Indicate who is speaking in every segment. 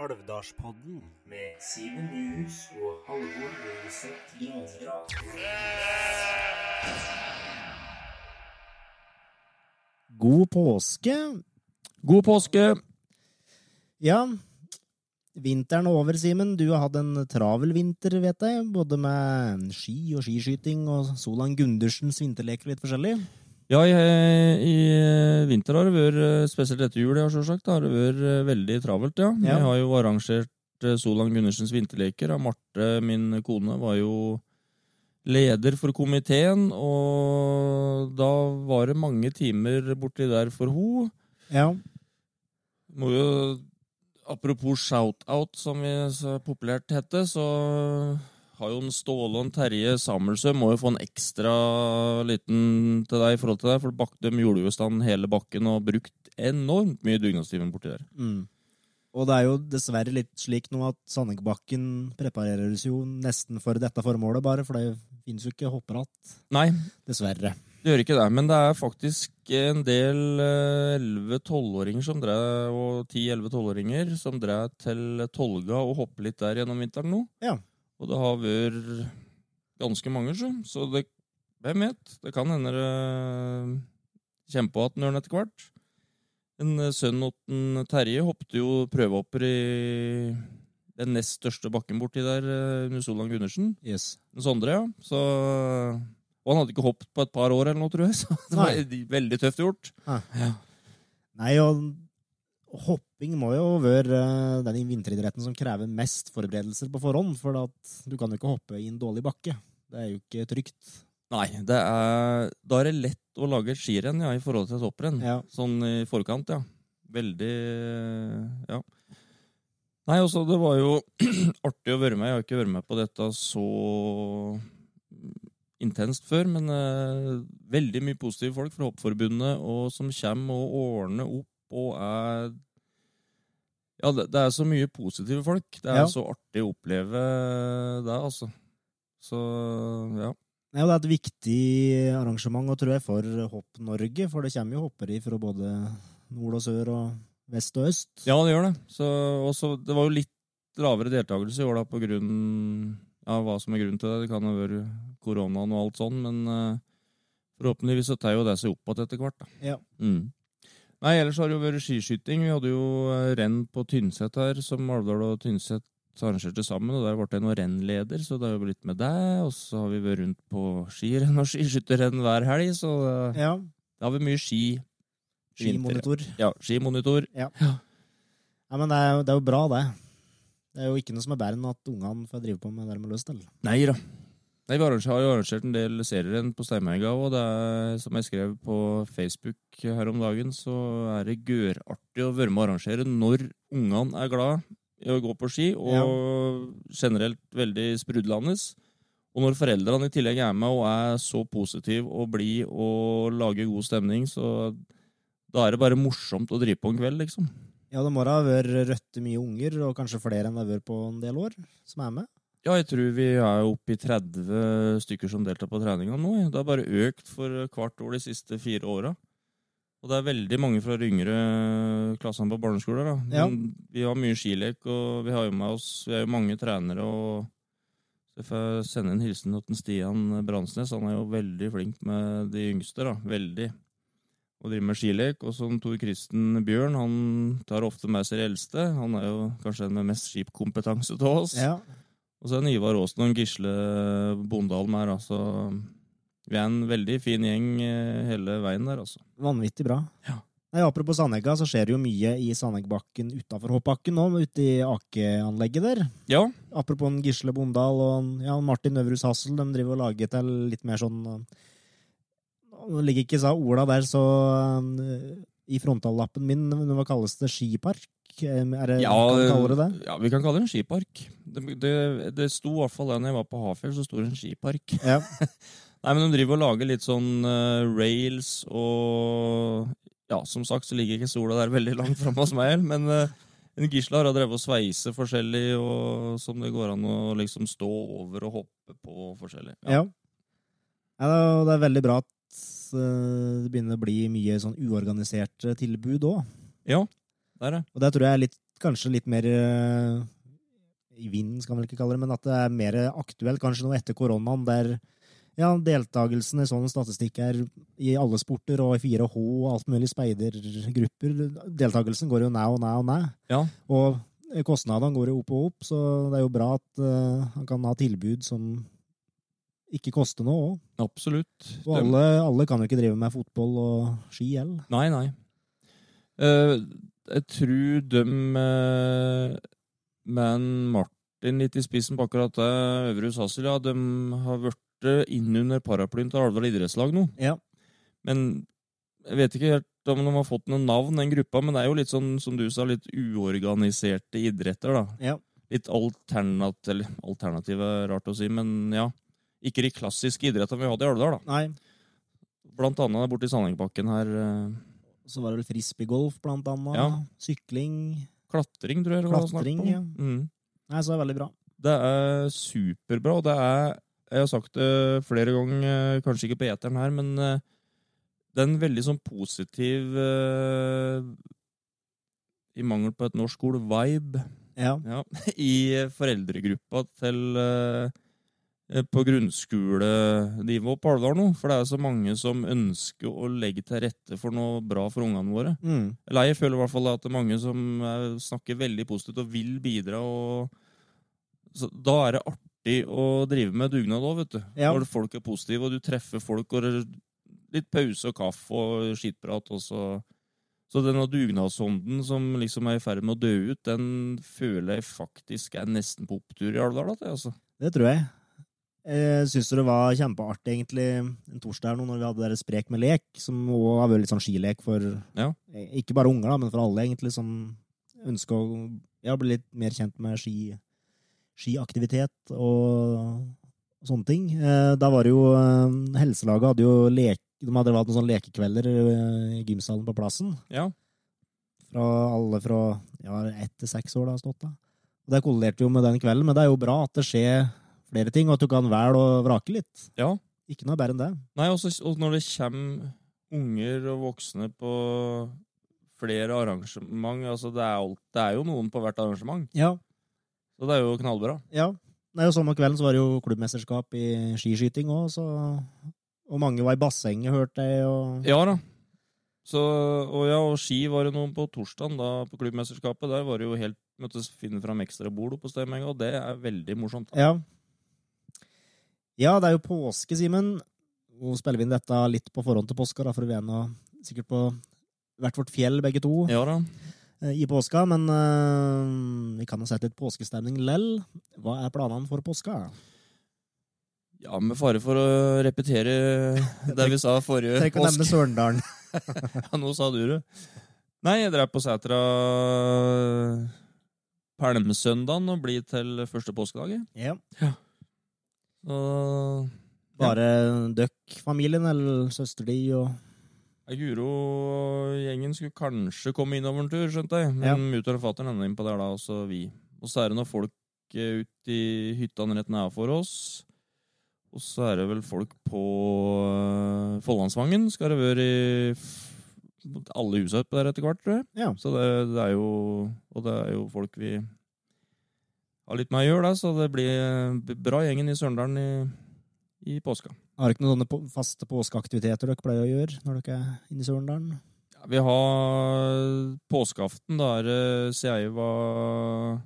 Speaker 1: Garasjepodden.
Speaker 2: med Simen Nyhus og Halvor Løseth Grøngrav.
Speaker 1: God påske.
Speaker 3: God påske!
Speaker 1: Ja, vinteren er over, Simen. Du har hatt en travel vinter, vet jeg. Både med ski og skiskyting og Solan Gundersens vinterleker og litt forskjellig.
Speaker 3: Ja, i, i vinter har det vært, eh, spesielt etter jul, ja, selvsagt, har det vært eh, veldig travelt, ja.
Speaker 1: Ja.
Speaker 3: Jeg har jo arrangert eh, Solan Gundersens vinterleker. og Marte, min kone, var jo leder for komiteen, og da var det mange timer borti der for henne.
Speaker 1: Ja.
Speaker 3: Må jo, apropos shout-out, som vi så populært heter, så har jo en Ståle og en Terje Samuelsø må jo få en ekstra liten til deg i forhold til deg, for bak, de gjorde jo i stand hele bakken og brukt enormt mye dugnadstimer borti der.
Speaker 1: Mm. Og det er jo dessverre litt slik nå at Sandekbakken prepareres jo nesten for dette formålet, bare, for det finnes jo ikke hopperatt.
Speaker 3: Nei,
Speaker 1: Dessverre.
Speaker 3: det gjør ikke det, men det er faktisk en del eh, 11-12-åringer som drev, og 10-11-12-åringer som drev til Tolga og hoppet litt der gjennom vinteren nå.
Speaker 1: Ja.
Speaker 3: Og det har vært ganske mange, sjø. så det, hvem vet? Det kan hende det kommer på igjen når etter hvert. En eh, sønn åtten Terje hoppet jo prøvehopper i den nest største bakken borti der eh, under Solan Gundersen.
Speaker 1: Yes.
Speaker 3: Den Sondre, ja. Så, og han hadde ikke hoppet på et par år eller noe, tror jeg. Så det var
Speaker 1: Nei.
Speaker 3: veldig tøft gjort.
Speaker 1: Nei, og hopping må jo være eh, den vinteridretten som krever mest forberedelser på forhånd, for at du kan jo ikke hoppe i en dårlig bakke. Det er jo ikke trygt.
Speaker 3: Nei, det er, da er det lett å lage et skirenn ja, i forhold til et hopprenn.
Speaker 1: Ja.
Speaker 3: Sånn i forkant, ja. Veldig Ja. Nei, også, det var jo artig å være med. Jeg har ikke vært med på dette så intenst før, men eh, veldig mye positive folk fra Hoppforbundet og som kommer og ordner opp og er Ja, det, det er så mye positive folk. Det er
Speaker 1: Ja.
Speaker 3: så artig å oppleve det, altså. Så ja.
Speaker 1: Nei, og det er et viktig arrangement, og tror jeg, for Hopp-Norge, for det kommer jo hoppere fra både nord og sør og vest og øst.
Speaker 3: Ja, det gjør det. Så, også, det var jo litt lavere deltakelse i år da, på grunn av hva som er grunnen til det. Det kan jo være koronaen og alt sånn, men eh, forhåpentligvis så tar jo det seg opp igjen etter hvert. Da.
Speaker 1: Ja.
Speaker 3: Mm. Nei, ellers har det jo vært skiskyting. Vi hadde jo eh, renn på Tynset her, som Alvdal og Tynset arrangerte sammen, og der ble jeg nå rennleder, så det har jo blitt med deg. Og så har vi vært rundt på skirenn og skiskytterrenn hver helg, så det,
Speaker 1: Ja.
Speaker 3: det har vært mye ski.
Speaker 1: Skimonitor.
Speaker 3: Ja, skimonitor.
Speaker 1: Ja, men det er, jo, det er jo bra, det. Det er jo ikke noe som er bedre enn at ungene får drive på med det de har lyst til.
Speaker 3: Nei da. Nei, Vi arranger- har jo arrangert en del serierenn på Steinberga, og det er, som jeg skrev på Facebook her om dagen, så er det gørartig å være med å arrangere når ungene er glad i å gå på ski, og generelt veldig sprudlende. Og når foreldrene i tillegg er med og er så positive og blide og lager god stemning, så da er det bare morsomt å drive på en kveld, liksom.
Speaker 1: Ja, det må da ha vært røtte mye unger, og kanskje flere enn det har vært på en del år, som er med.
Speaker 3: Ja, jeg tror vi er oppe i 30 stykker som deltar på treninga nå. jeg. Det har bare økt for hvert år de siste fire åra. Og det er veldig mange fra yngre klassene på barneskolen. Da.
Speaker 1: Ja.
Speaker 3: Men vi har mye skilek, og vi har jo med oss vi er jo mange trenere. og så får jeg sende en hilsen til den Stian Bransnes. Han er jo veldig flink med de yngste. da, Veldig. Og driver med skilek. Og som Tor Kristen Bjørn, han tar ofte med seg de eldste. Han er jo kanskje den med mest skipkompetanse til oss.
Speaker 1: Ja.
Speaker 3: Og så er det en Ivar Aasen og en Gisle Bondal med her, altså. Vi er en veldig fin gjeng eh, hele veien der, altså.
Speaker 1: Vanvittig bra.
Speaker 3: Ja.
Speaker 1: Nei, apropos Sandegga, så skjer det jo mye i Sandeggbakken utafor hoppbakken nå, ute i akeanlegget der.
Speaker 3: Ja,
Speaker 1: Apropos en Gisle Bondal og en, ja, en Martin Øvrus Hassel, de driver og lager til litt mer sånn eh, Nå ligger ikke sa Ola der, så eh, i frontallappen min, men hva kalles det, skipark? Eh, Er det,
Speaker 3: ja,
Speaker 1: kan vi kalle det det?
Speaker 3: ja, vi kan kalle det en skipark. Det, det, det sto i hvert fall da jeg var på Hafjell, så sto det en skipark.
Speaker 1: Ja.
Speaker 3: Nei, men de driver og lager litt sånn eh, rails og Ja, som sagt så ligger ikke sola der veldig langt framme hos meg, men eh, en Gisle har drevet og sveise forskjellig, og som det går an å liksom stå over og hoppe på forskjellig.
Speaker 1: Ja. Nei, det er- det er veldig bra at eh, det begynner å bli mye sånn uorganiserte tilbud òg.
Speaker 3: Ja, der er
Speaker 1: Og det tror jeg er litt kanskje litt mer eh, i vinden, skal man vel ikke kalle det, men at det er mer aktuelt kanskje nå etter koronaen, der ja, deltakelsen i sånn statistikk er i alle sporter og i 4H og alt mulig speidergrupper. Deltakelsen går jo ned og ned og ned.
Speaker 3: Ja.
Speaker 1: Og kostnadene går jo opp og opp, så det er jo bra at eh, han kan ha tilbud som ikke koster noe òg.
Speaker 3: Absolutt.
Speaker 1: Og
Speaker 3: Det-
Speaker 1: alle, alle kan jo ikke drive med fotball og ski heller.
Speaker 3: Nei, nei. Eh, jeg tror de eh, med en Martin litt i spissen på akkurat det, Øvrehus Hassel, ja, de har vært innunder paraplyen til Alvdal idrettslag nå.
Speaker 1: Ja.
Speaker 3: Men jeg vet ikke helt om de har fått noen navn, den gruppa, men det er jo litt sånn, som du sa, litt uorganiserte idretter, da.
Speaker 1: Ja.
Speaker 3: Litt alternativ, eller alternativ er rart å si, men ja. Ikke de klassiske idrettene vi hadde i Alvdal, da.
Speaker 1: Nei,
Speaker 3: Blant annet borti Sandengbakken her. eh,
Speaker 1: så var det vel frisbeegolf, blant annet.
Speaker 3: Ja.
Speaker 1: Sykling.
Speaker 3: Klatring, tror jeg det var snakk
Speaker 1: Klatring,
Speaker 3: om.
Speaker 1: ja.
Speaker 3: Mm.
Speaker 1: Nei, så er det veldig bra.
Speaker 3: Det er superbra, og det er Jeg har sagt det flere ganger, eh, kanskje ikke på eteren her, men eh, det er en veldig sånn positiv eh, I mangel på et norsk ord vibe
Speaker 1: Ja.
Speaker 3: ja, i foreldregruppa til eh, eh, på grunnskolenivå på Alvdal nå. For det er så mange som ønsker å legge til rette for noe bra for ungene våre.
Speaker 1: Mm.
Speaker 3: Eller jeg føler i hvert fall at det er mange som eh, snakker veldig positivt og vil bidra. Og så da er det artig å drive med dugnad òg, vet du.
Speaker 1: Ja.
Speaker 3: Når folk er positive, og du treffer folk, og det er litt pause og kaffe og skittprat. Og så. så denne dugnadsånden som liksom er i ferd med å dø ut, den føler jeg faktisk er nesten på opptur i Alvdal. at jeg, Altså.
Speaker 1: Det tror jeg. Jeg syns det var kjempeartig, egentlig, en torsdag her nå, når vi hadde deres Sprek med lek, som også har vært litt sånn skilek for eh,
Speaker 3: Ja.
Speaker 1: Ikke bare unger, da, men for alle, egentlig, som ønsker å ja, bli litt mer kjent med ski, skiaktivitet og sånne ting. Eh, Da var det jo eh, Helselaget hadde jo lek... De hadde hatt noen sånne lekekvelder eh, i gymsalen på plassen.
Speaker 3: Ja.
Speaker 1: Fra alle fra ja, ett til seks år, det har stått da. Og det kollerte jo med den kvelden, men det er jo bra at det skjer flere ting, og at du kan velge å vrake litt.
Speaker 3: ja.
Speaker 1: Ikke noe bedre enn det.
Speaker 3: Nei, også, og når det kommer unger og voksne på flere arrangement altså det, er alt, det er jo noen på hvert arrangement,
Speaker 1: Ja.
Speaker 3: så det er jo knallbra.
Speaker 1: ja. Nei, og Samme kvelden så var det jo klubbmesterskap i skiskyting òg, så Og mange var i bassenget, hørte jeg, og
Speaker 3: Ja da. Så, og ja, og ski var det noen på torsdagen da, på klubbmesterskapet. Der var det jo helt Møttes finne fram ekstra bord oppe hos dem en gang, og det er veldig morsomt.
Speaker 1: Ja. Ja, det er jo påske, Simen. Nå spiller vi inn dette litt på forhånd til påska, da, for vi er nå sikkert på hvert vårt fjell, begge to.
Speaker 3: Ja da.
Speaker 1: eh, i påska, men eh, vi kan jo sette litt påskestemning lell. Hva er planene for påska?
Speaker 3: Ja, med fare for å repetere det vi sa forrige
Speaker 1: Trenger ikke å nevne Sørendalen.
Speaker 3: Ja, nå sa du det. Nei, jeg drar på setra Palmesøndagen og blir til første påskedag. jeg.
Speaker 1: ja.
Speaker 3: Og
Speaker 1: Bare døkk familien, eller søster di, og
Speaker 3: Guro og gjengen skulle kanskje komme innover en tur, skjønte jeg.
Speaker 1: Ja.
Speaker 3: Men mutter'n og fatter'n enda innpå der, da, og så vi. Og så er det noen folk eh, ut i hyttene rett nedenfor oss. Og så er det vel folk på eh, Follandsvangen. Skal det være i f- alle husa oppe der etter hvert, tror jeg.
Speaker 1: Ja.
Speaker 3: Så det, det er jo Og det er jo folk vi har litt med å gjøre, da, så det blir eh, bra gjengen i Sørendalen i, i påska.
Speaker 1: Har dere ikke noen sånne på- faste påskeaktiviteter dere pleier å gjøre når dere er inne i Sørendalen?
Speaker 3: Ja, Vi har påskeaften, da er det siden jeg var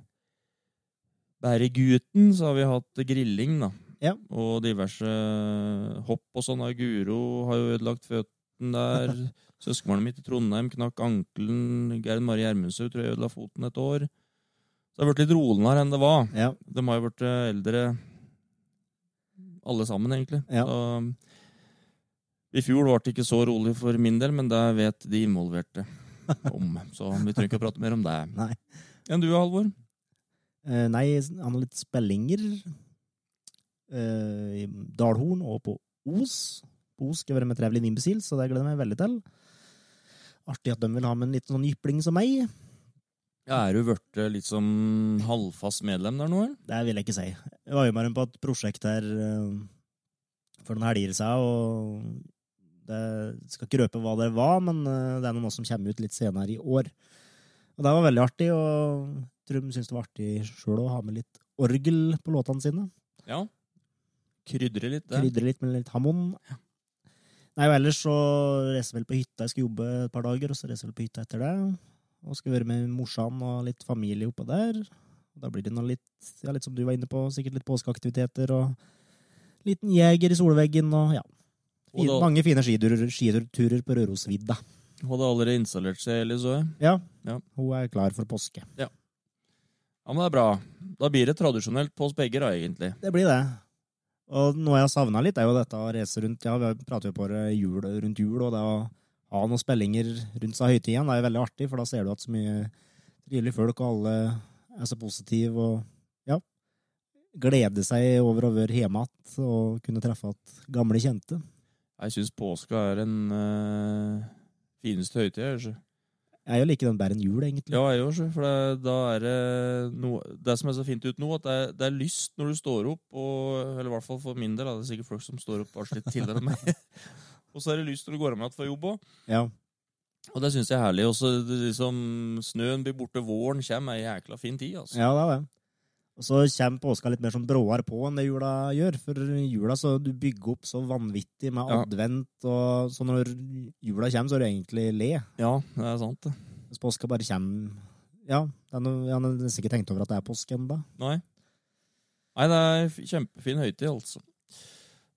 Speaker 3: bæregutten, så har vi hatt grilling, da.
Speaker 1: Ja.
Speaker 3: Og diverse hopp og sånn. da. Guro har jo ødelagt føtten der. Søskenbarnet mitt i Trondheim knakk ankelen. Gerd Marie Gjermundshaug tror jeg ødela foten et år. Så det har blitt litt roligere enn det var.
Speaker 1: Ja.
Speaker 3: De har jo blitt eldre alle sammen, egentlig.
Speaker 1: Ja.
Speaker 3: Så, I fjor var det ikke så rolig for min del, men det vet de involverte om. Så vi trenger ikke å prate mer om det.
Speaker 1: Nei.
Speaker 3: Enn du, Halvor?
Speaker 1: Eh, nei, han har litt spellinger. eh, I Dalhorn og på Os. På Os skal jeg være med Trevlin Imbecil, så det gleder jeg meg veldig til. Artig at de vil ha med en liten sånn jypling som meg.
Speaker 3: Ja, er du blitt litt som halvfast medlem der nå, eller?
Speaker 1: Det vil jeg ikke si. Jeg var jo med dem på et prosjekt her eh, for noen helger siden, og det jeg skal ikke røpe hva det var, men eh, det er noen som kommer ut litt senere i år. Og det var veldig artig, og Trum syntes det var artig sjøl å ha med litt orgel på låtene sine.
Speaker 3: Ja. Krydre litt, det.
Speaker 1: Krydre litt med litt hammond. Nei, og ellers så reiser vel på hytta. Jeg skal jobbe et par dager, og så reiser vel på hytta etter det. Og skal være med morsan og litt familie oppå der. Da blir det noe litt, ja, litt som du var inne på, sikkert litt påskeaktiviteter og liten jeger i solveggen og ja.
Speaker 3: Og da-
Speaker 1: mange fine skiturer, skiturer på Rørosvidda.
Speaker 3: Hun hadde allerede installert seg, eller så jeg.
Speaker 1: Ja.
Speaker 3: Ja.
Speaker 1: Hun er klar for påske.
Speaker 3: Ja, men det er bra. Da blir det tradisjonelt på oss begge, da, egentlig.
Speaker 1: Det blir det. Og noe jeg har savna litt, er jo dette å reise rundt. Ja, vi prater jo på det jul, rundt jul, og det å ha noen spillinger rundt seg høytiden, det er jo veldig artig, for da ser du at så mye trivelige folk, og alle er så positive, og ja, gleder seg over å være hjemme igjen, og kunne treffe att gamle kjente.
Speaker 3: Jeg syns påska er den eh, fineste høytida. jeg, sjø.
Speaker 1: Jeg er jo like den bedre enn jul, egentlig.
Speaker 3: Ja, jeg òg, sjø, for det, da er det noe Det som er så fint ut nå, at det er, det er lyst når du står opp, og, eller i hvert fall for min del, da, det er sikkert folk som står opp kanskje litt tidligere enn meg. Og så er det lyst når du går av med igjen fra jobb òg.
Speaker 1: Ja.
Speaker 3: Og det syns jeg er herlig. Også, det, liksom, snøen blir borte, våren kommer, ei jækla fin tid. altså.
Speaker 1: Ja, det er det. Og så kommer påska litt mer som bråere på enn det jula gjør. For jula så du bygger opp så vanvittig med
Speaker 3: Ja.
Speaker 1: advent, og så når jula kommer, så er du egentlig le.
Speaker 3: Ja, det er sant, det.
Speaker 1: Hvis påska bare kommer Ja, det er noe, jeg har nesten ikke tenkt over at det er påske ennå.
Speaker 3: Nei. Nei, det er f- kjempefin høytid, altså.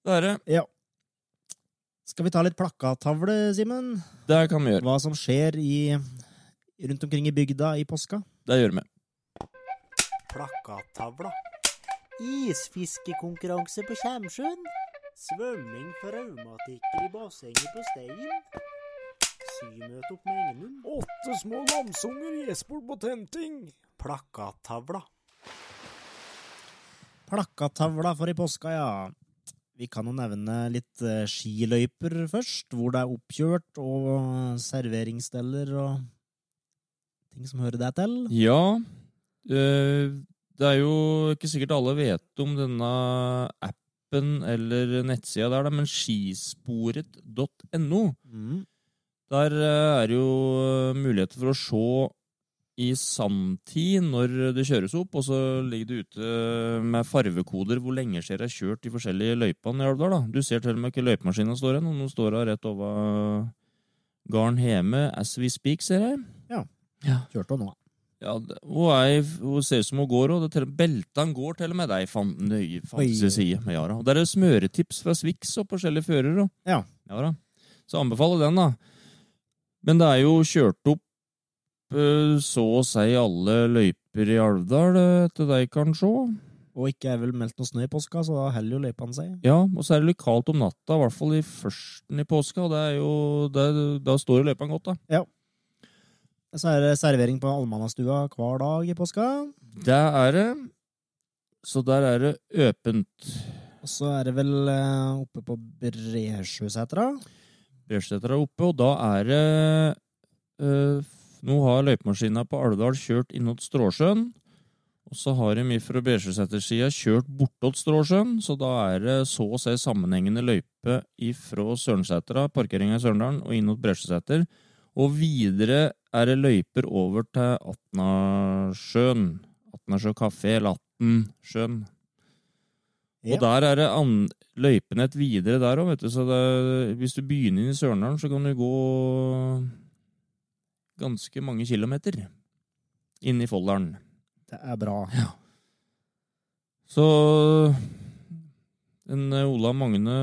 Speaker 3: Det er det.
Speaker 1: Skal vi ta litt plakatavle, Simen?
Speaker 3: Det kan vi gjøre.
Speaker 1: Hva som skjer i, rundt omkring i bygda i påska?
Speaker 3: Det gjør vi.
Speaker 4: plakattavla. Isfiskekonkurranse på Kjemsjøen. Svømming for raumatikere i bassenget på Stein. Symøte opp med Engenum. Åtte små lamsunger i Esport på tenting. Plakattavla.
Speaker 1: Plakatavla for i påska, ja. Vi kan jo nevne litt eh, skiløyper først, hvor det er oppkjørt, og eh, serveringssteller og ting som hører deg til.
Speaker 3: Ja. eh, Det er jo ikke sikkert alle vet om denne appen eller nettsida der, da, men skisporet.no. Der eh, er jo eh, muligheter for å se i sanntid når det kjøres opp, og så ligger det ute eh, med farvekoder hvor lenge ser jeg har kjørt de forskjellige løypene i Alvdal. da. Du ser til og med ikke løypemaskina står hen, og nå står hun rett over garden hjemme as we speak, ser jeg.
Speaker 1: Kjørte hun nå.
Speaker 3: Ja, det- hun, er, i- hun ser ut som hun går, og det til, beltene går til og med deg, fan, nøye, fanse
Speaker 1: Oi.
Speaker 3: side. Men ja da. Og Det er jo smøretips fra Swix og forskjellige førere. og-
Speaker 1: Ja.
Speaker 3: ja da. Så anbefaler den, da. Men det er jo kjørt opp eh, så å si alle løyper i Alvdal, eh, etter det jeg kan se.
Speaker 1: Og ikke er vel meldt noe snø i påska, så da heller jo løypene seg.
Speaker 3: Ja, og så er det litt kaldt om natta, i hvert fall i førsten i påska, og det er jo, det, da står jo løypene godt, da.
Speaker 1: Så er det servering på Almanastua hver dag i påska.
Speaker 3: Det er det. Så der er det åpent.
Speaker 1: Og så er det vel eh, oppe på Bresjøsetra.
Speaker 3: Bjørnstedter er oppe, og da er det eh, f- Nå har løypemaskina på Alvdal kjørt innåt Stråsjøen. Og så har de fra Bjørnstedter-sida kjørt bortåt Stråsjøen, så da er det så å si sammenhengende løype ifra Sørensetra, parkeringa i Sørendalen, og innåt Bjørnstedter. Og videre er det løyper over til Atnasjøen. Atnasjø kafé, eller Atnasjøen.
Speaker 1: Ja.
Speaker 3: Og der er det an løypenett videre der òg, vet du. Så det, hvis du begynner inn i Sørendalen, så kan du gå ganske mange kilometer inn i Folldalen.
Speaker 1: Det er bra.
Speaker 3: Så en eh, Ola Magne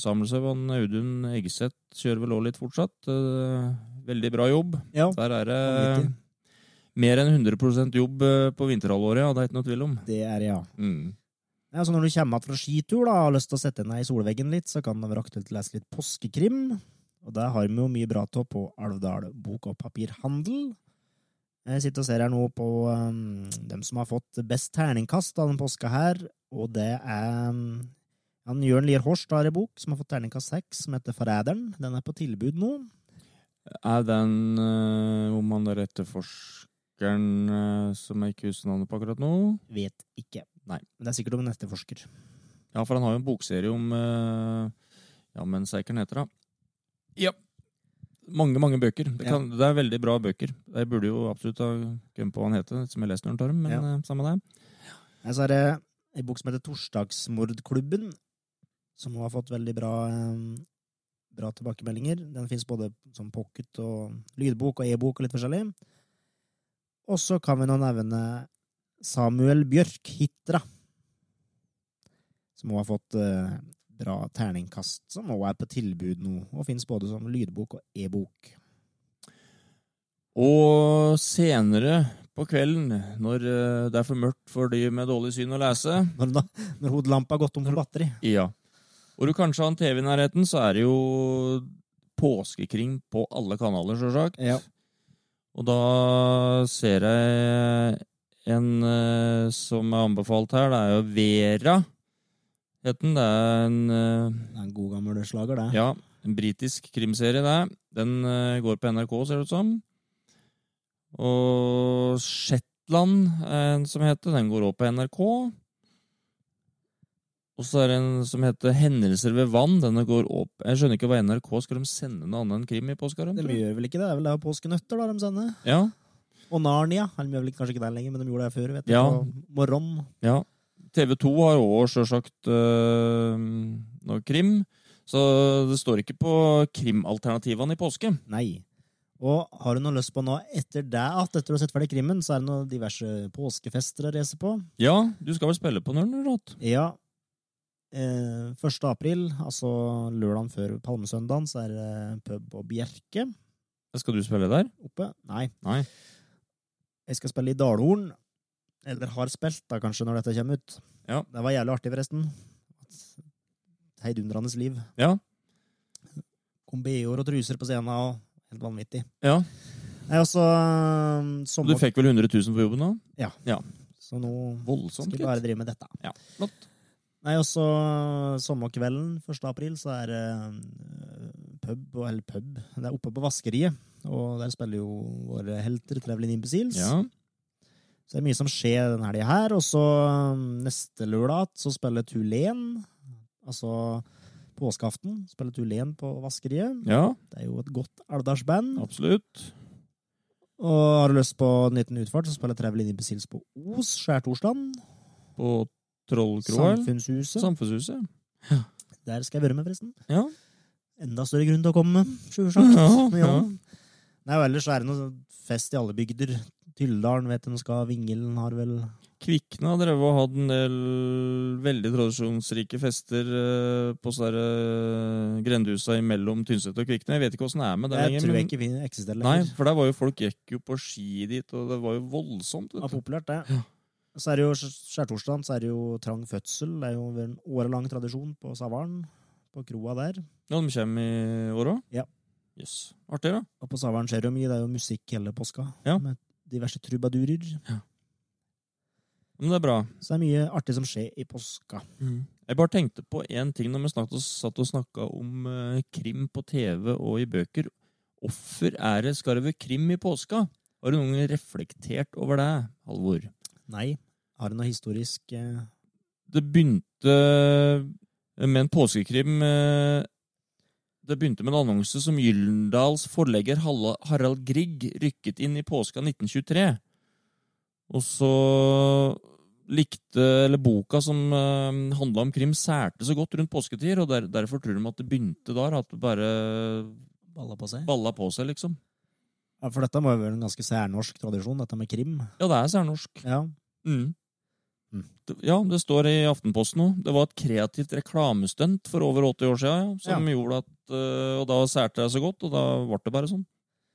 Speaker 3: Samuelsev og en Audun Eggeseth kjører vel òg litt fortsatt. Eh, Veldig bra jobb.
Speaker 1: Ja,
Speaker 3: Der er det
Speaker 1: Vanvittig.
Speaker 3: mer enn 100 jobb eh, på vinterhalvåret, ja. Det er ikke noe tvil om.
Speaker 1: det er ja.
Speaker 3: Mm.
Speaker 1: Ja, så altså, når du kommer tilbake fra skitur da, og har lyst til å sette deg i solveggen litt, så kan det være aktuelt å lese litt påskekrim. Og der har vi jo mye bra av på Alvdal bok- og papirhandel. Jeg sitter og ser her nå på um, dem som har fått best terningkast av den påska her, og det er um, han Jørn Lier Horst har en bok som har fått terningkast seks, som heter Forræderen. Den er på tilbud nå.
Speaker 3: Er den eh, om han der etterforskeren eh, som jeg ikke husker navnet på akkurat nå?
Speaker 1: Vet ikke.
Speaker 3: Nei.
Speaker 1: Men det er sikkert om en etterforsker.
Speaker 3: Ja, for han har jo en bokserie om eh, Ja, men seikeren heter det. Ja. mange, mange bøker. Det,
Speaker 1: Ja.
Speaker 3: kan, det er veldig bra bøker. Jeg burde jo absolutt ha glemt på hva han heter, som jeg leste når han tar dem, men
Speaker 1: Ja.
Speaker 3: eh, samme det.
Speaker 1: Nei, så er det en bok som heter Torsdagsmordklubben, som har fått veldig bra, eh, bra tilbakemeldinger. Den finnes både som pocket og lydbok og e-bok og litt forskjellig. Og så kan vi nå nevne Samuel Bjørk Hitra, som også har fått eh, bra terningkast, som også er på tilbud nå, og finnes både som lydbok og e-bok.
Speaker 3: Og senere på kvelden, når eh, det er for mørkt for de med dårlig syn å lese,
Speaker 1: Når, når hodelampa har gått om for batteri.
Speaker 3: Ja. Og du kanskje har en TV i nærheten, så er det jo påskekring på alle kanaler, sjølsagt.
Speaker 1: Ja.
Speaker 3: Og da ser jeg en eh, som er anbefalt her. Det er jo Vera, het den. Det er en eh,
Speaker 1: Det er en god gammel slager, det.
Speaker 3: ja, en britisk krimserie, det. Den eh, går på NRK, ser det ut som. Og Shetland, er en som heter, den går også på NRK. Og så er det en som heter Hendelser ved vann. Denne går opp Jeg skjønner ikke hva NRK skal de sende noe annet enn krim i påska?
Speaker 1: De gjør vel ikke det? Det er vel det av påskenøtter da, de sender?
Speaker 3: Ja,
Speaker 1: Og Narnia. Eller de gjør vel ikke- kanskje ikke den lenger, men de gjorde det før. vet du.
Speaker 3: Ja.
Speaker 1: på Morrom.
Speaker 3: ja. TV 2 har òg sjølsagt øh, noe krim. Så det står ikke på krimalternativene i påske.
Speaker 1: Nei. Og har du noe lyst på nå etter det, at etter du har sett ferdig krimmen, så er det noen diverse påskefester å reise på?
Speaker 3: Ja, du skal vel spille på Nørn, eller? Rott?
Speaker 1: Ja. Eh, 1. april, altså lørdagen før palmesøndagen, så er det pub og Bjerke
Speaker 3: Skal du spille der?
Speaker 1: oppe. Nei.
Speaker 3: Nei.
Speaker 1: Jeg skal spille i Dalhorn. Eller har spilt, da, kanskje, når dette kommer ut.
Speaker 3: Ja.
Speaker 1: Det var jævlig artig, forresten. Heidundrandes liv.
Speaker 3: Ja.
Speaker 1: Kom BH-er og truser på scenen, og helt vanvittig.
Speaker 3: Ja.
Speaker 1: Nei, også øhm,
Speaker 3: Og du
Speaker 1: sommer...
Speaker 3: fikk vel 100 000 på jobben da?
Speaker 1: Så nå
Speaker 3: Voldsomt.
Speaker 1: skal jeg
Speaker 3: gitt.
Speaker 1: bare drive med dette.
Speaker 3: Sånn Ja, flott.
Speaker 1: Nei, også eh, sommerkvelden 1. april så er det øhm, pub, og- eller pub, det er oppe på Vaskeriet, og der spiller jo våre helter Traveling Imbeciles.
Speaker 3: Ja.
Speaker 1: Så det er mye som skjer den helga her. Og så um, neste lørdag så spiller Tulén, altså påskeaften, spiller Tulén på Vaskeriet.
Speaker 3: ja,
Speaker 1: Det er jo et godt Alvdalsband.
Speaker 3: absolutt.
Speaker 1: Og har du lyst på en liten utfart, så spiller Travelin Imbeciles på Os skjærtorsdagen.
Speaker 3: På Trollkroa. eller?
Speaker 1: Samfunnshuset.
Speaker 3: Samfunnshuset.
Speaker 1: Der skal jeg være med, forresten.
Speaker 3: Ja.
Speaker 1: Enda større grunn til å komme, sjølsagt.
Speaker 3: Ja,
Speaker 1: Men
Speaker 3: ja.
Speaker 1: Nei, og ellers er det noe fest i alle bygder. Tylldalen vet jeg nå skal, Vingelen har vel
Speaker 3: Kvikne har drevet og hatt en del veldig tradisjonsrike fester eh, på sånne der, eh, grendehusa imellom Tynset og Kvikne. Jeg vet ikke åssen det er med det
Speaker 1: Jeg tror jeg
Speaker 3: men-
Speaker 1: ikke fin- eksisterer
Speaker 3: Nei,
Speaker 1: lenger.
Speaker 3: for der var jo folk gikk jo på ski dit, og det var jo voldsomt.
Speaker 1: Det var
Speaker 3: Vet du.
Speaker 1: populært, det. Så er det jo skjærtorsdagen, så er det jo trang fødsel. Det er jo en årelang tradisjon på Savaren, på kroa der.
Speaker 3: Ja, de kommer i år òg?
Speaker 1: Ja.
Speaker 3: Jøss. Yes. Artig, da.
Speaker 1: Og på Savaren skjer det jo mye. Det er jo musikk hele påska,
Speaker 3: Ja.
Speaker 1: med diverse trubadurer.
Speaker 3: Men det er bra.
Speaker 1: Så det er mye artig som skjer i påska.
Speaker 3: Mm. Jeg bare tenkte på én ting når vi snakket, satt og snakka om eh, krim på TV og i bøker. Hvorfor er det skal det være krim i påska? Har du noen gang reflektert over det, Halvor?
Speaker 1: Nei, har du noe historisk eh,
Speaker 3: Det begynte med en påskekrim eh, Det begynte med en annonse som Gyldendals forlegger Halla- Harald Grieg rykket inn i påska 1923. Og så likte Eller boka som eh, handla om krim, særte så godt rundt påsketider, og der, derfor tror de at det begynte der. At det bare
Speaker 1: balla på seg?
Speaker 3: balla på seg, liksom.
Speaker 1: Ja, for dette må jo være en ganske særnorsk tradisjon, dette med krim.
Speaker 3: Ja, det er særnorsk.
Speaker 1: Ja.
Speaker 3: Mm.
Speaker 1: Mm.
Speaker 3: Det- Ja, det står i Aftenposten nå. Det var et kreativt reklamestunt for over 80 år siden, ja, som gjorde at øh, Og da særte jeg så godt, og da ble det bare sånn.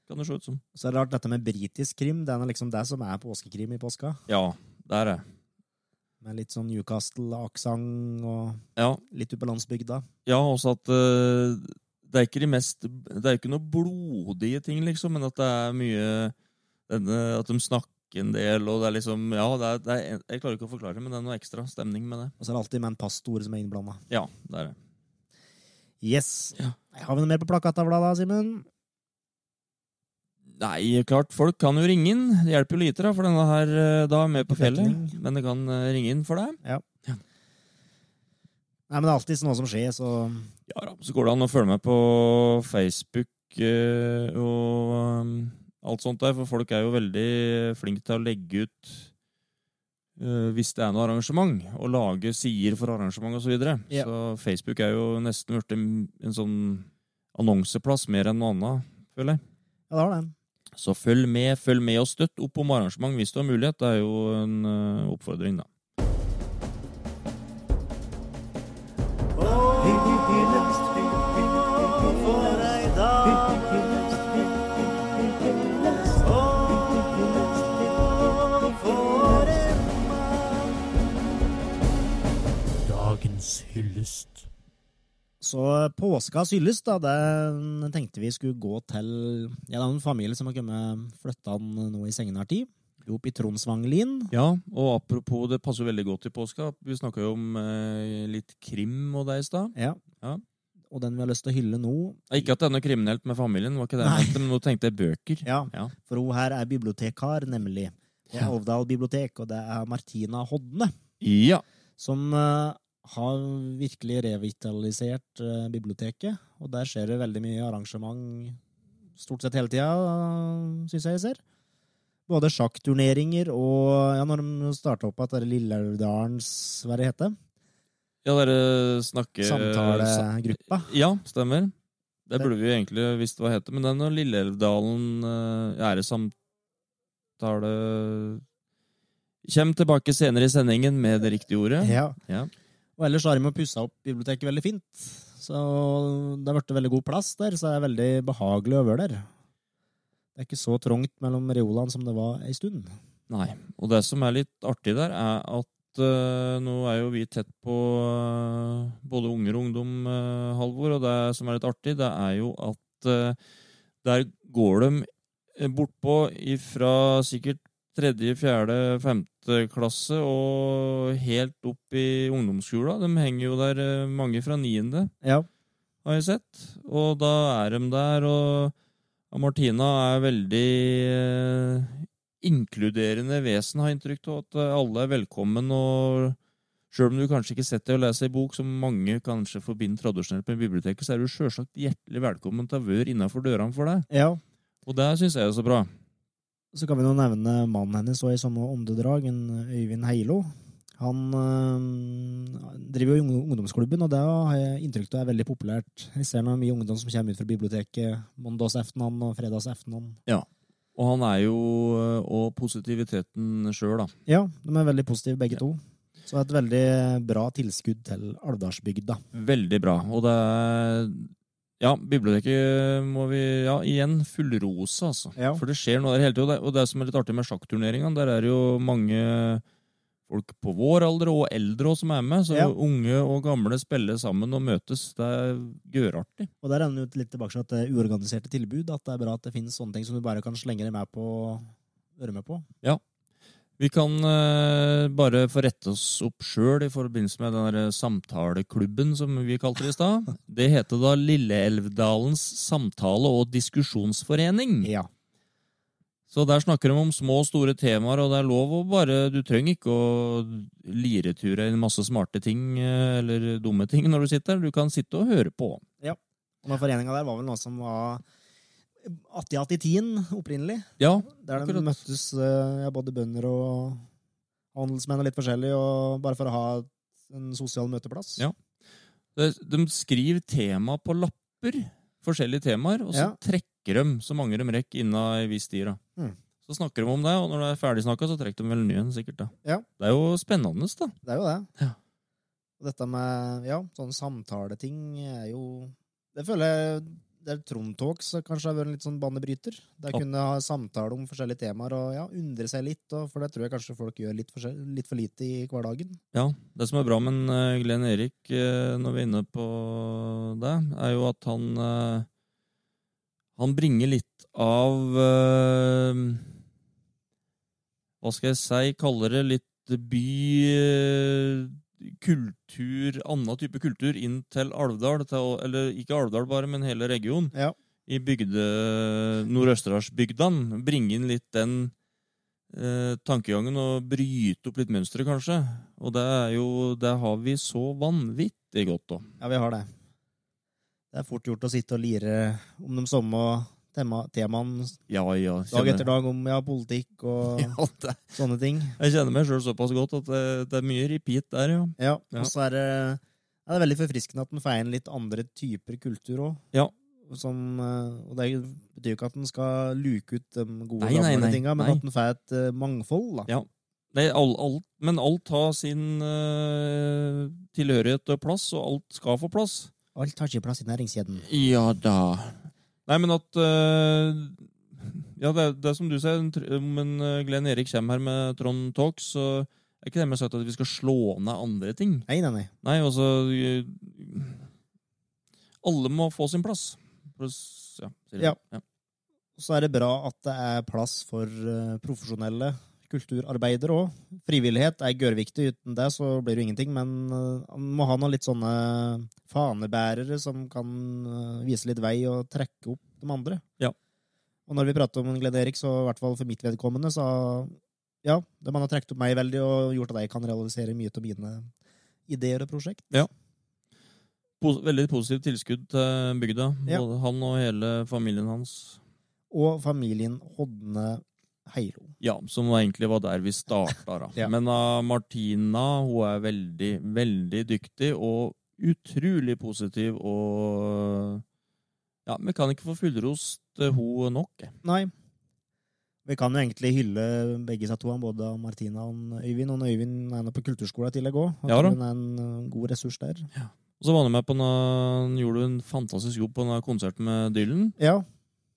Speaker 3: Kan det se ut som.
Speaker 1: Så er det rart dette med britisk krim. Det er nå liksom det som er påskekrim i påska.
Speaker 3: Ja, der er det.
Speaker 1: Med litt sånn Newcastle-aksent og
Speaker 3: Ja,
Speaker 1: litt ute på landsbygda.
Speaker 3: ja også at øh, det er ikke de mest Det er ikke noe blodige ting, liksom, men at det er mye denne, At de snakker en del, og det er liksom Ja, det er, det er, jeg klarer ikke å forklare det, men det er noe ekstra stemning med det.
Speaker 1: Og så er det alltid med en pastor som er innblanda.
Speaker 3: Ja, det er det.
Speaker 1: Yes.
Speaker 3: Ja.
Speaker 1: Har vi noe mer på plakattavla da, Simen?
Speaker 3: Nei, klart, folk kan jo ringe inn. Det hjelper jo lite, da, for denne her eh, da er med på fjellet.
Speaker 1: Dekning.
Speaker 3: Men det kan eh, ringe inn for deg.
Speaker 1: Nei, men det er alltid sånn noe som skjer, så
Speaker 3: Ja da, Så går det an å følge med på Facebook eh, og um, alt sånt der, for folk er jo veldig flinke til å legge ut eh, hvis det er noe arrangement, og lage sider for arrangement osv. Så, videre.
Speaker 1: Ja.
Speaker 3: så Facebook er jo nesten blitt en sånn annonseplass mer enn noe annet, føler jeg.
Speaker 1: Ja, det har det.
Speaker 3: Så følg med, følg med og støtt opp om arrangement hvis du har mulighet. Det er jo en eh, oppfordring, da.
Speaker 4: for ei dame. Å, for en mann. Dagens hyllest.
Speaker 1: Så påskas hyllest, da, det tenkte vi skulle gå til Ja, det er en familie som har kommet flytta an nå i seinere tid. Opp i Tromsvanglien.
Speaker 3: Ja, og apropos, det passer jo veldig godt til påska. Vi snakka jo om eh, litt krim og det i stad.
Speaker 1: Ja.
Speaker 3: Ja.
Speaker 1: Og den vi har lyst til å hylle nå,
Speaker 3: Eh, Ikke at det er noe kriminelt med familien, var ikke det jeg
Speaker 1: Nei.
Speaker 3: mente, men nå tenkte jeg bøker.
Speaker 1: ja,
Speaker 3: Ja.
Speaker 1: for hun her er bibliotekar, nemlig. Det er
Speaker 3: Ja.
Speaker 1: Alvdal bibliotek, og det er Martina Hodne.
Speaker 3: Ja.
Speaker 1: som eh, har virkelig revitalisert eh, biblioteket. Og der skjer det veldig mye arrangement stort sett hele tida, eh, syns jeg jeg ser. Både sjakkturneringer og ja, når de starta opp at det er Lilleaurdalens Hva er det heter
Speaker 3: ja, dere snakker eh,
Speaker 1: Samtalegruppa.
Speaker 3: Ja, stemmer. Det
Speaker 1: Det-
Speaker 3: burde vi jo egentlig visst hva det heter, men det er når Lilleelvdalen uh, æresamtale Kjem tilbake senere i sendingen med det riktige ordet.
Speaker 1: Ja.
Speaker 3: Ja.
Speaker 1: Og ellers har de jo pussa opp biblioteket veldig fint. Så det har blitt veldig god plass der, så det er veldig behagelig å være der. Det er ikke så trangt mellom reolene som det var ei stund.
Speaker 3: Nei. Og det som er litt artig der, er at eh, nå er jo vi tett på eh, både unger og ungdom, eh, Halvor, og det som er litt artig, det er jo at eh, der går de eh, bortpå ifra sikkert tredje, fjerde, femte klasse og helt opp i ungdomsskolen. De henger jo der, eh, mange fra niende
Speaker 1: Ja.
Speaker 3: har jeg sett. Og da er de der, og, og Martina er veldig eh, inkluderende vesen, har jeg inntrykk av. At eh, alle er velkommen, og sjøl om du kanskje ikke setter deg og leser ei bok som mange kanskje forbinder tradisjonelt med biblioteket, så er du sjølsagt hjertelig velkommen til å være innafor dørene for deg.
Speaker 1: ja.
Speaker 3: Og det syns jeg er så bra.
Speaker 1: Så kan vi nå nevne mannen hennes også i samme åndedrag, en Øyvind Heilo. Han øhm, driver jo i ung- ungdomsklubben, og det har jeg inntrykk av er veldig populært. Jeg ser nå mye ungdom som kommer ut fra biblioteket mandagsaften og fredagsaften.
Speaker 3: Og han er jo eh, Og positiviteten sjøl, da.
Speaker 1: Ja, de er veldig positive begge to. Så det er et veldig eh, bra tilskudd til Alvdalsbygda.
Speaker 3: Veldig bra. Og det er Ja, biblioteket må vi Ja, igjen fullrose, altså.
Speaker 1: Ja.
Speaker 3: For det skjer noe der hele tida. Og det som er litt artig med sjakkturneringene, der er det jo mange folk på vår alder og eldre også som er med. Så
Speaker 1: Ja.
Speaker 3: unge og gamle spiller sammen og møtes. Det er gørartig.
Speaker 1: Og der er han jo litt tilbake til at det er uorganiserte tilbud, at det er bra at det finnes sånne ting som du bare kan slenge deg med på og høre med på.
Speaker 3: Vi kan eh, bare få rette oss opp sjøl i forbindelse med den der samtaleklubben som vi kalte det i stad. Det heter da Lilleelvdalens samtale- og diskusjonsforening.
Speaker 1: Ja.
Speaker 3: Så der snakker de om små og store temaer, og det er lov å bare Du trenger ikke å lireture inn masse smarte ting eh, eller dumme ting når du sitter der. Du kan sitte og høre på.
Speaker 1: Og den foreninga der var vel noe som var 80-80-10 opprinnelig.
Speaker 3: Ja,
Speaker 1: Der de
Speaker 3: Akkurat.
Speaker 1: møttes eh, ja, både bønder og handelsmenn og litt forskjellig, og bare for å ha en sosial møteplass.
Speaker 3: Ja. det- de skriver tema på lapper, forskjellige temaer, og så
Speaker 1: Ja.
Speaker 3: trekker de så mange de rekker innen en viss tid. da.
Speaker 1: Mm.
Speaker 3: Så snakker de om det, og når det er ferdig snakka, så trekker de vel en ny en, sikkert. da.
Speaker 1: Ja.
Speaker 3: Det er jo spennende, da.
Speaker 1: Det er jo det.
Speaker 3: Ja.
Speaker 1: Og dette med ja, sånne samtaleting er jo Det føler jeg det er Trond Talks som kanskje har vært en litt sånn banebryter. Der
Speaker 3: Ja.
Speaker 1: kunne ha samtale om forskjellige temaer og ja, undre seg litt, og for det tror jeg kanskje folk gjør litt, forskjell- litt for lite i hverdagen.
Speaker 3: Ja, Det som er bra med en, eh, Glenn Erik, eh, når vi er inne på det, er jo at han eh, Han bringer litt av eh, Hva skal jeg si? Kaller det litt by eh, Kultur, annen type kultur, inn til Alvdal. Til, å- eller ikke Alvdal bare, men hele regionen.
Speaker 1: Ja.
Speaker 3: I bygde Nord-Østerdalsbygdene. Bringe inn litt den eh, tankegangen og bryte opp litt mønstre, kanskje. Og det er jo Det har vi så vanvittig godt av.
Speaker 1: Ja, vi har det. Det er fort gjort å sitte og lire om de samme tema temaene
Speaker 3: Ja, ja.
Speaker 1: dag
Speaker 3: kjenner-
Speaker 1: etter dag, om ja, politikk og
Speaker 3: Ja, det,
Speaker 1: sånne ting.
Speaker 3: jeg kjenner meg sjøl såpass godt at det, det er mye repeat der, ja.
Speaker 1: Ja,
Speaker 3: Ja.
Speaker 1: Og så er det, ja, det er veldig forfriskende at den får inn litt andre typer kultur òg.
Speaker 3: Ja.
Speaker 1: Som, eh, og det betyr jo ikke at den skal luke ut de gode,
Speaker 3: Nei, nei,
Speaker 1: gamle
Speaker 3: nei,
Speaker 1: tinga, men
Speaker 3: nei.
Speaker 1: at den får et eh, mangfold. da.
Speaker 3: Ja. Det, er all, alt, men alt har sin eh, tilhørighet og plass, og alt skal få plass.
Speaker 1: Alt har ikke plass i næringskjeden.
Speaker 3: Ja da. Nei, men at øh, Ja, det, er- det er som du sier, en tr- om en øh, Glenn Erik kommer her med Trond Talk, så er ikke det med sagt at vi skal slå ned andre ting.
Speaker 1: Nei, nei, nei.
Speaker 3: Nei, altså øh, Alle må få sin plass. For å s- Ja. sier jeg.
Speaker 1: Ja.
Speaker 3: ja.
Speaker 1: Og så er det bra at det er plass for eh, profesjonelle kulturarbeidere òg. Frivillighet er gørrviktig. Uten det så blir det jo ingenting. Men eh, man må ha noen litt sånne fanebærere som kan eh, vise litt vei og trekke opp de andre.
Speaker 3: Ja.
Speaker 1: Og når vi prater om Glenn Erik, så i hvert fall for mitt vedkommende, så ja, det man har trukket opp meg veldig og gjort at jeg kan realisere mye av mine ideer og prosjekt.
Speaker 3: Pos veldig positivt tilskudd til bygda.
Speaker 1: Ja.
Speaker 3: Både han og hele familien hans.
Speaker 1: Og familien Hodne Heilo.
Speaker 3: Ja, som egentlig var der vi starta, da.
Speaker 1: Ja.
Speaker 3: Men ah, Martina hun er veldig, veldig dyktig og utrolig positiv og Ja, vi kan ikke få fullrost eh, hun nok. jeg.
Speaker 1: Nei. Vi kan jo egentlig hylle begge seg to, han, både Martina og han Øyvind. Og han Øyvind er nå på kulturskolen i tillegg òg.
Speaker 3: Ja da.
Speaker 1: Hun er en ø, god ressurs der.
Speaker 3: Og så var han med på en, eh, gjorde en fantastisk jobb på en konsert med Dylan.
Speaker 1: Ja,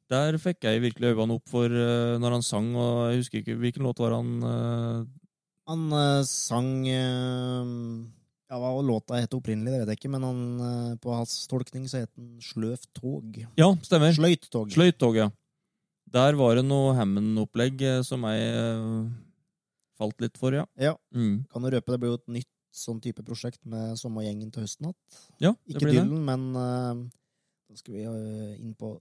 Speaker 3: Der fikk jeg virkelig øynene opp for eh, når han sang, og jeg husker ikke hvilken låt var han eh,
Speaker 1: han ø, sang ø, Ja, hva låta het opprinnelig, det vet jeg ikke, men han, ø, på hans tolkning så het den Sløvt tog.
Speaker 3: Ja, stemmer.
Speaker 1: Sløyt tog.
Speaker 3: Sløyttog, ja. Der var det noe Hammond-opplegg eh, som jeg eh, falt litt for, ja.
Speaker 1: Ja.
Speaker 3: Mm.
Speaker 1: Kan jo røpe, det blir jo et nytt sånn type prosjekt med samme gjengen til høsten igjen.
Speaker 3: Ja, det
Speaker 1: Ikke
Speaker 3: blir det.
Speaker 1: Dylan, men ø, da skal vi ø, inn på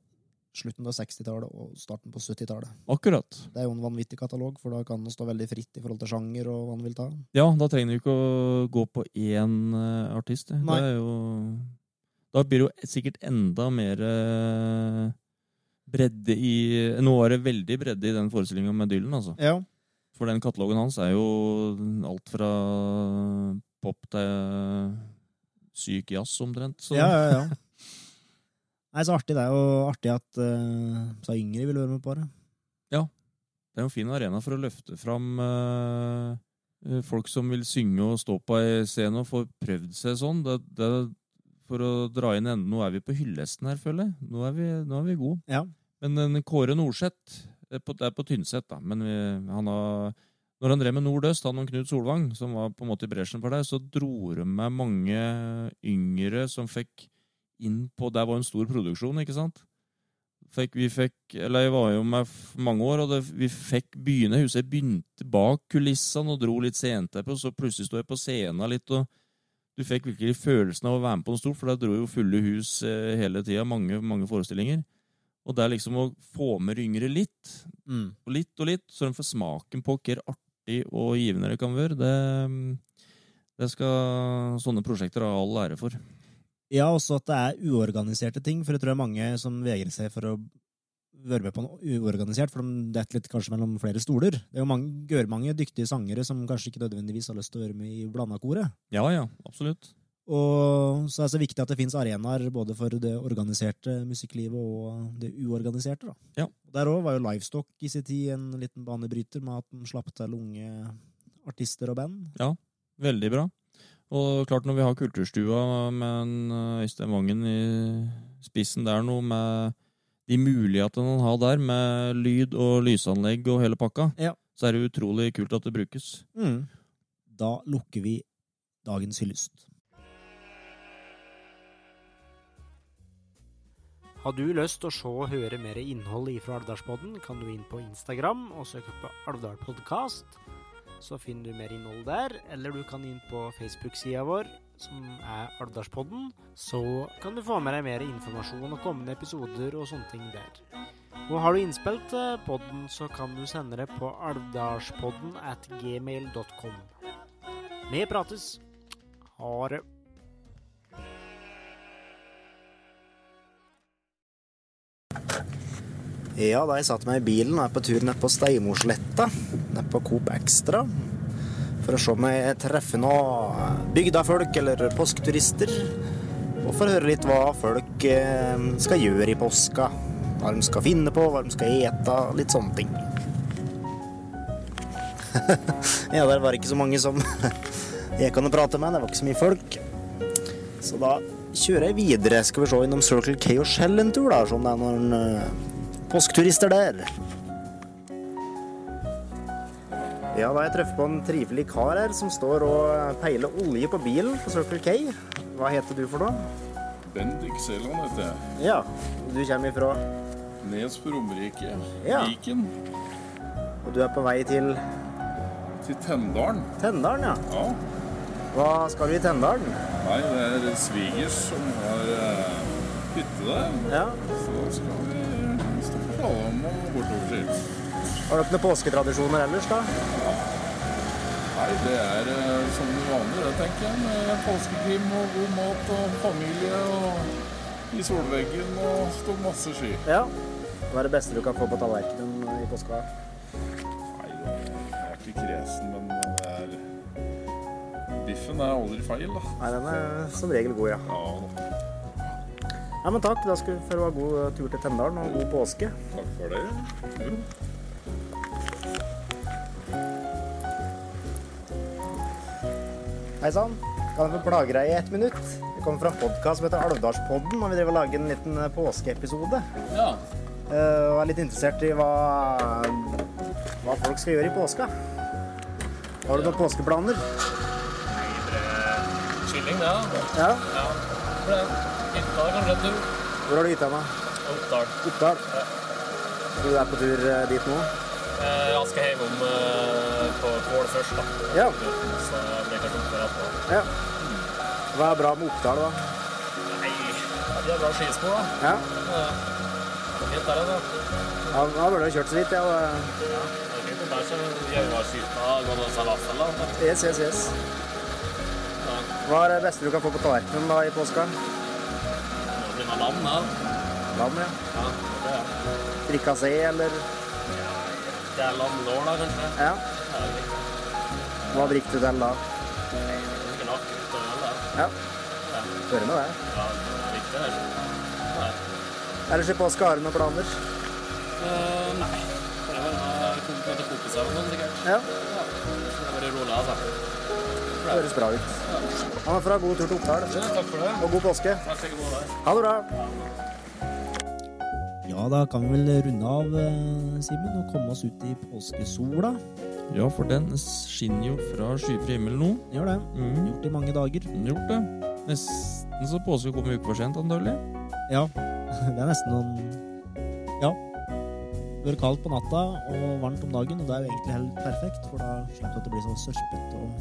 Speaker 1: slutten av 60-tallet og starten på 70-tallet.
Speaker 3: Akkurat.
Speaker 1: Det er jo en vanvittig katalog, for da kan den stå veldig fritt i forhold til sjanger og hva den vil ta.
Speaker 3: Ja, da trenger du ikke å gå på én eh, artist. Det.
Speaker 1: Nei.
Speaker 3: det er jo Da blir det jo sikkert enda mer eh, bredde i Nå var det veldig bredde i den forestillinga med Dylan, altså.
Speaker 1: Ja,
Speaker 3: For den katalogen hans er jo alt fra pop til syk jazz, omtrent. Så
Speaker 1: ja, ja. ja. Nei, så artig det er, og artig at eh, sa Ingrid ville være med på det.
Speaker 3: det er jo en fin arena for å løfte fram eh, eh, folk som vil synge og stå på ei scene og få prøvd seg sånn. Det, det, for å dra inn enden, nå er vi på hyllesten her, føler jeg. Nå er vi, nå er vi gode.
Speaker 1: Ja.
Speaker 3: Men en Kåre Norseth, det er på, det er på Tynset, da. Men vi, han har når han drev med Nordøst, han og Knut Solvang, som var på en måte i bresjen for deg, så dro de med mange yngre som fikk inn på Det var en stor produksjon, ikke sant? Fikk, vi fikk, eller Jeg var jo med f- mange år, og det, vi fikk begynne. Jeg husker jeg begynte bak kulissene og dro litt sent på, så plutselig sto jeg på scenen litt, og du fikk virkelig følelsen av å være med på noe stort, for der dro jo fulle hus eh, hele tida, mange, mange forestillinger. Og det er liksom å få med de yngre litt,
Speaker 1: Mm.
Speaker 3: og litt og litt, så de får smaken på hvor artig og givende det kan være. Det, mm, det skal sånne prosjekter ha all ære for.
Speaker 1: Ja, også at det er uorganiserte ting, for jeg tror det er mange som vegrer seg for å være med på noe uorganisert, for de detter litt kanskje mellom flere stoler. Det er jo mange, gør mange dyktige sangere som kanskje ikke nødvendigvis har lyst til å være med i blanda koret.
Speaker 3: Ja, ja, absolutt.
Speaker 1: Og så er det så viktig at det finnes arenaer både for det organiserte musikklivet og det uorganiserte.
Speaker 3: Ja.
Speaker 1: Da. Og Der òg var jo Livestock i sin tid en liten banebryter med at den slapp til unge artister og band.
Speaker 3: Veldig bra. Og klart, når vi har Kulturstua med en eh, Øystein Vangen i spissen der nå, med de mulighetene han har der, med lyd og lysanlegg og hele pakka,
Speaker 1: Ja.
Speaker 3: så er det utrolig kult at det brukes.
Speaker 1: Da lukker vi dagens hyllest.
Speaker 4: Har du lyst til å se og høre mer innhold ifra Alvdalspodden, kan du inn på Instagram og søke på Alvdal Podcast. Så finner du mer innhold der, eller du kan inn på Facebook-sida vår, som er Alvdalspodden. Så kan du få med deg mer informasjon og kommende episoder og sånne ting der. Og har du innspill til podden, så kan du sende det på alvdalspodden at gmail.com. Vi prates. Ha det.
Speaker 1: Ja, da jeg satte meg i bilen og er på tur ned på Steinmorsletta, ned på Coop Extra, for å se om jeg treffer noen bygdafolk eller påsketurister, og for å høre litt hva folk eh, skal gjøre i påska. Hva de skal finne på, hva de skal ete, litt sånne ting. ja, der var det ikke så mange som jeg kan prate med, det var ikke så mye folk. Så da kjører jeg videre. Skal vi se innom Circle K og Shell en tur, da. Sånn det er noen eh, påsketurister der. Ja, da har jeg truffet på en trivelig kar her som står og peiler olje på bilen på Circle K. Hva heter du for noe?
Speaker 5: Bendik Seland heter jeg.
Speaker 1: Ja, du kommer ifra
Speaker 5: Nes på Romerike.
Speaker 1: Ja.
Speaker 5: Viken.
Speaker 1: Og du er på vei til
Speaker 5: Til Tendalen.
Speaker 1: Tendalen, ja.
Speaker 5: Ja.
Speaker 1: Hva skal du i Tendalen?
Speaker 5: Nei, det er svigers som har eh, hytte der.
Speaker 1: Ja.
Speaker 5: Så da skal vi stå på slalåm og bortoverskilt.
Speaker 1: Har dere noen påsketradisjoner ellers, da?
Speaker 5: Nei, det er eh, som det vanlige, det, tenker jeg. Med påskekrim og god mat og familie og i solveggen og stå masse ski.
Speaker 1: Ja. Hva er det beste du kan få på tallerkenen i påska?
Speaker 5: Nei, jeg er ikke kresen, men det er Biffen er aldri feil, da.
Speaker 1: Nei, den er som regel god, ja.
Speaker 5: Ja da.
Speaker 1: Ja, men takk. Da skal vi få ha god eh, tur til Tendalen og god påske.
Speaker 5: Takk for det. Jo.
Speaker 1: Hei sann. Kan jeg få plage deg i ett minutt? Jeg kommer fra en podkast som heter Alvdalspodden, og vi driver og lager en liten eh, påskeepisode.
Speaker 5: Ja.
Speaker 1: Eh, Og er litt interessert i hva, hva folk skal gjøre i påska. Har du noen påskeplaner?
Speaker 6: Kylling, det. da.
Speaker 1: Ja.
Speaker 6: Ja. For det hytta er kanskje en tur.
Speaker 1: Hvor har du hytta nå?
Speaker 6: Oppdal.
Speaker 1: Oppdal? Du er på tur eh, dit nå?
Speaker 6: Eh, jeg skal hjem om eh, på Kvål først, da.
Speaker 1: Ja.
Speaker 6: Så det blir kanskje oppdal etterpå.
Speaker 1: Ja. Hva er bra med Oppdal, da?
Speaker 6: Nei, det er bra skispor, da.
Speaker 1: Ja,
Speaker 6: Det er Fint der, da.
Speaker 1: ja da burde jeg kjørt så vidt, jeg. Ja. eh,
Speaker 6: Det er fint om der, så Gjøvarshytta går det falafel, da.
Speaker 1: Yes, yes, yes.
Speaker 6: Ja,
Speaker 1: Hva er det beste du kan få på tallerkenen da i påska?
Speaker 6: Det blir noe lam, da.
Speaker 1: Lam, ja.
Speaker 6: Ja, det er det.
Speaker 1: Fricassé, eller
Speaker 6: Det er lamlår, da, kanskje.
Speaker 1: Ja.
Speaker 6: Ja, det er
Speaker 1: Hva drikker du til da?
Speaker 6: ikke nok ut av det, da.
Speaker 1: Ja. Hører med det.
Speaker 6: Ja, det er viktig, det. Ja.
Speaker 1: Ellers i påska har du noen planer?
Speaker 6: Eh, Nei. Det var da jeg kom til kompiser og sånn, sikkert.
Speaker 1: Ja.
Speaker 6: Ja, så det var rolig, altså.
Speaker 1: Høres bra ut. Han er fra god tur til Oppdal.
Speaker 6: Takk for det.
Speaker 1: Og god påske.
Speaker 6: Takk skal du ha.
Speaker 1: Ha det bra.
Speaker 7: Ja, da kan vi vel runde av, eh, Simen, og komme oss ut i påskesola.
Speaker 3: Ja, for den skinner jo fra skyfri himmel nå.
Speaker 7: Gjør det.
Speaker 3: Mm,
Speaker 7: Gjort i mange dager.
Speaker 3: gjort det. Nesten så påske kom en uke for sent, antagelig.
Speaker 7: Ja. Det er nesten noen Ja. Det blir kaldt på natta og varmt om dagen, og det er jo egentlig helt perfekt, for da slipper du at det blir så sørpete og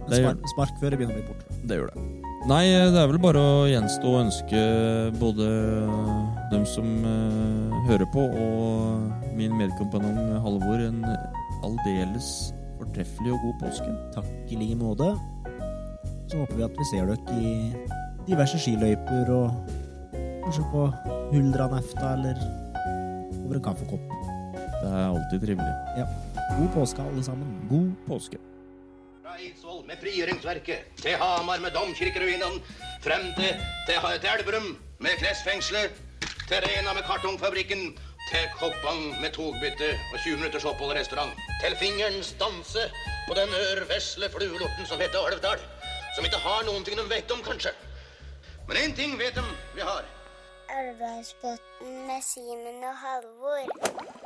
Speaker 7: Men
Speaker 3: Det gjør-
Speaker 7: spark, spark før det begynner å bli borte.
Speaker 3: Det gjør det. Nei, eh, det er vel bare å gjenstå å ønske både dem som eh, hører på, og min medkompanjong Halvor en aldeles fortreffelig og god påske.
Speaker 7: Takk i like måte. Så håper vi at vi ser dere i diverse skiløyper og kanskje på Huldranefta eller over en kaffekopp.
Speaker 3: Det er alltid trivelig.
Speaker 7: God påske, alle sammen.
Speaker 3: God påske.
Speaker 8: Fra Eidsvoll med frigjøringsverket, til Hamar med domkirkeruinene, frem til, til, til Elverum med Kressfengselet, til Rena med kartongfabrikken, til Koppang med togbytte og 20 minutters opphold i restaurant, til fingerens danse på den ørvesle fluelorten som heter Alvdal, som ikke har noen ting de vet om, kanskje. Men én ting vet de vi har.
Speaker 9: Elvdalsbotn med Simen og Halvor.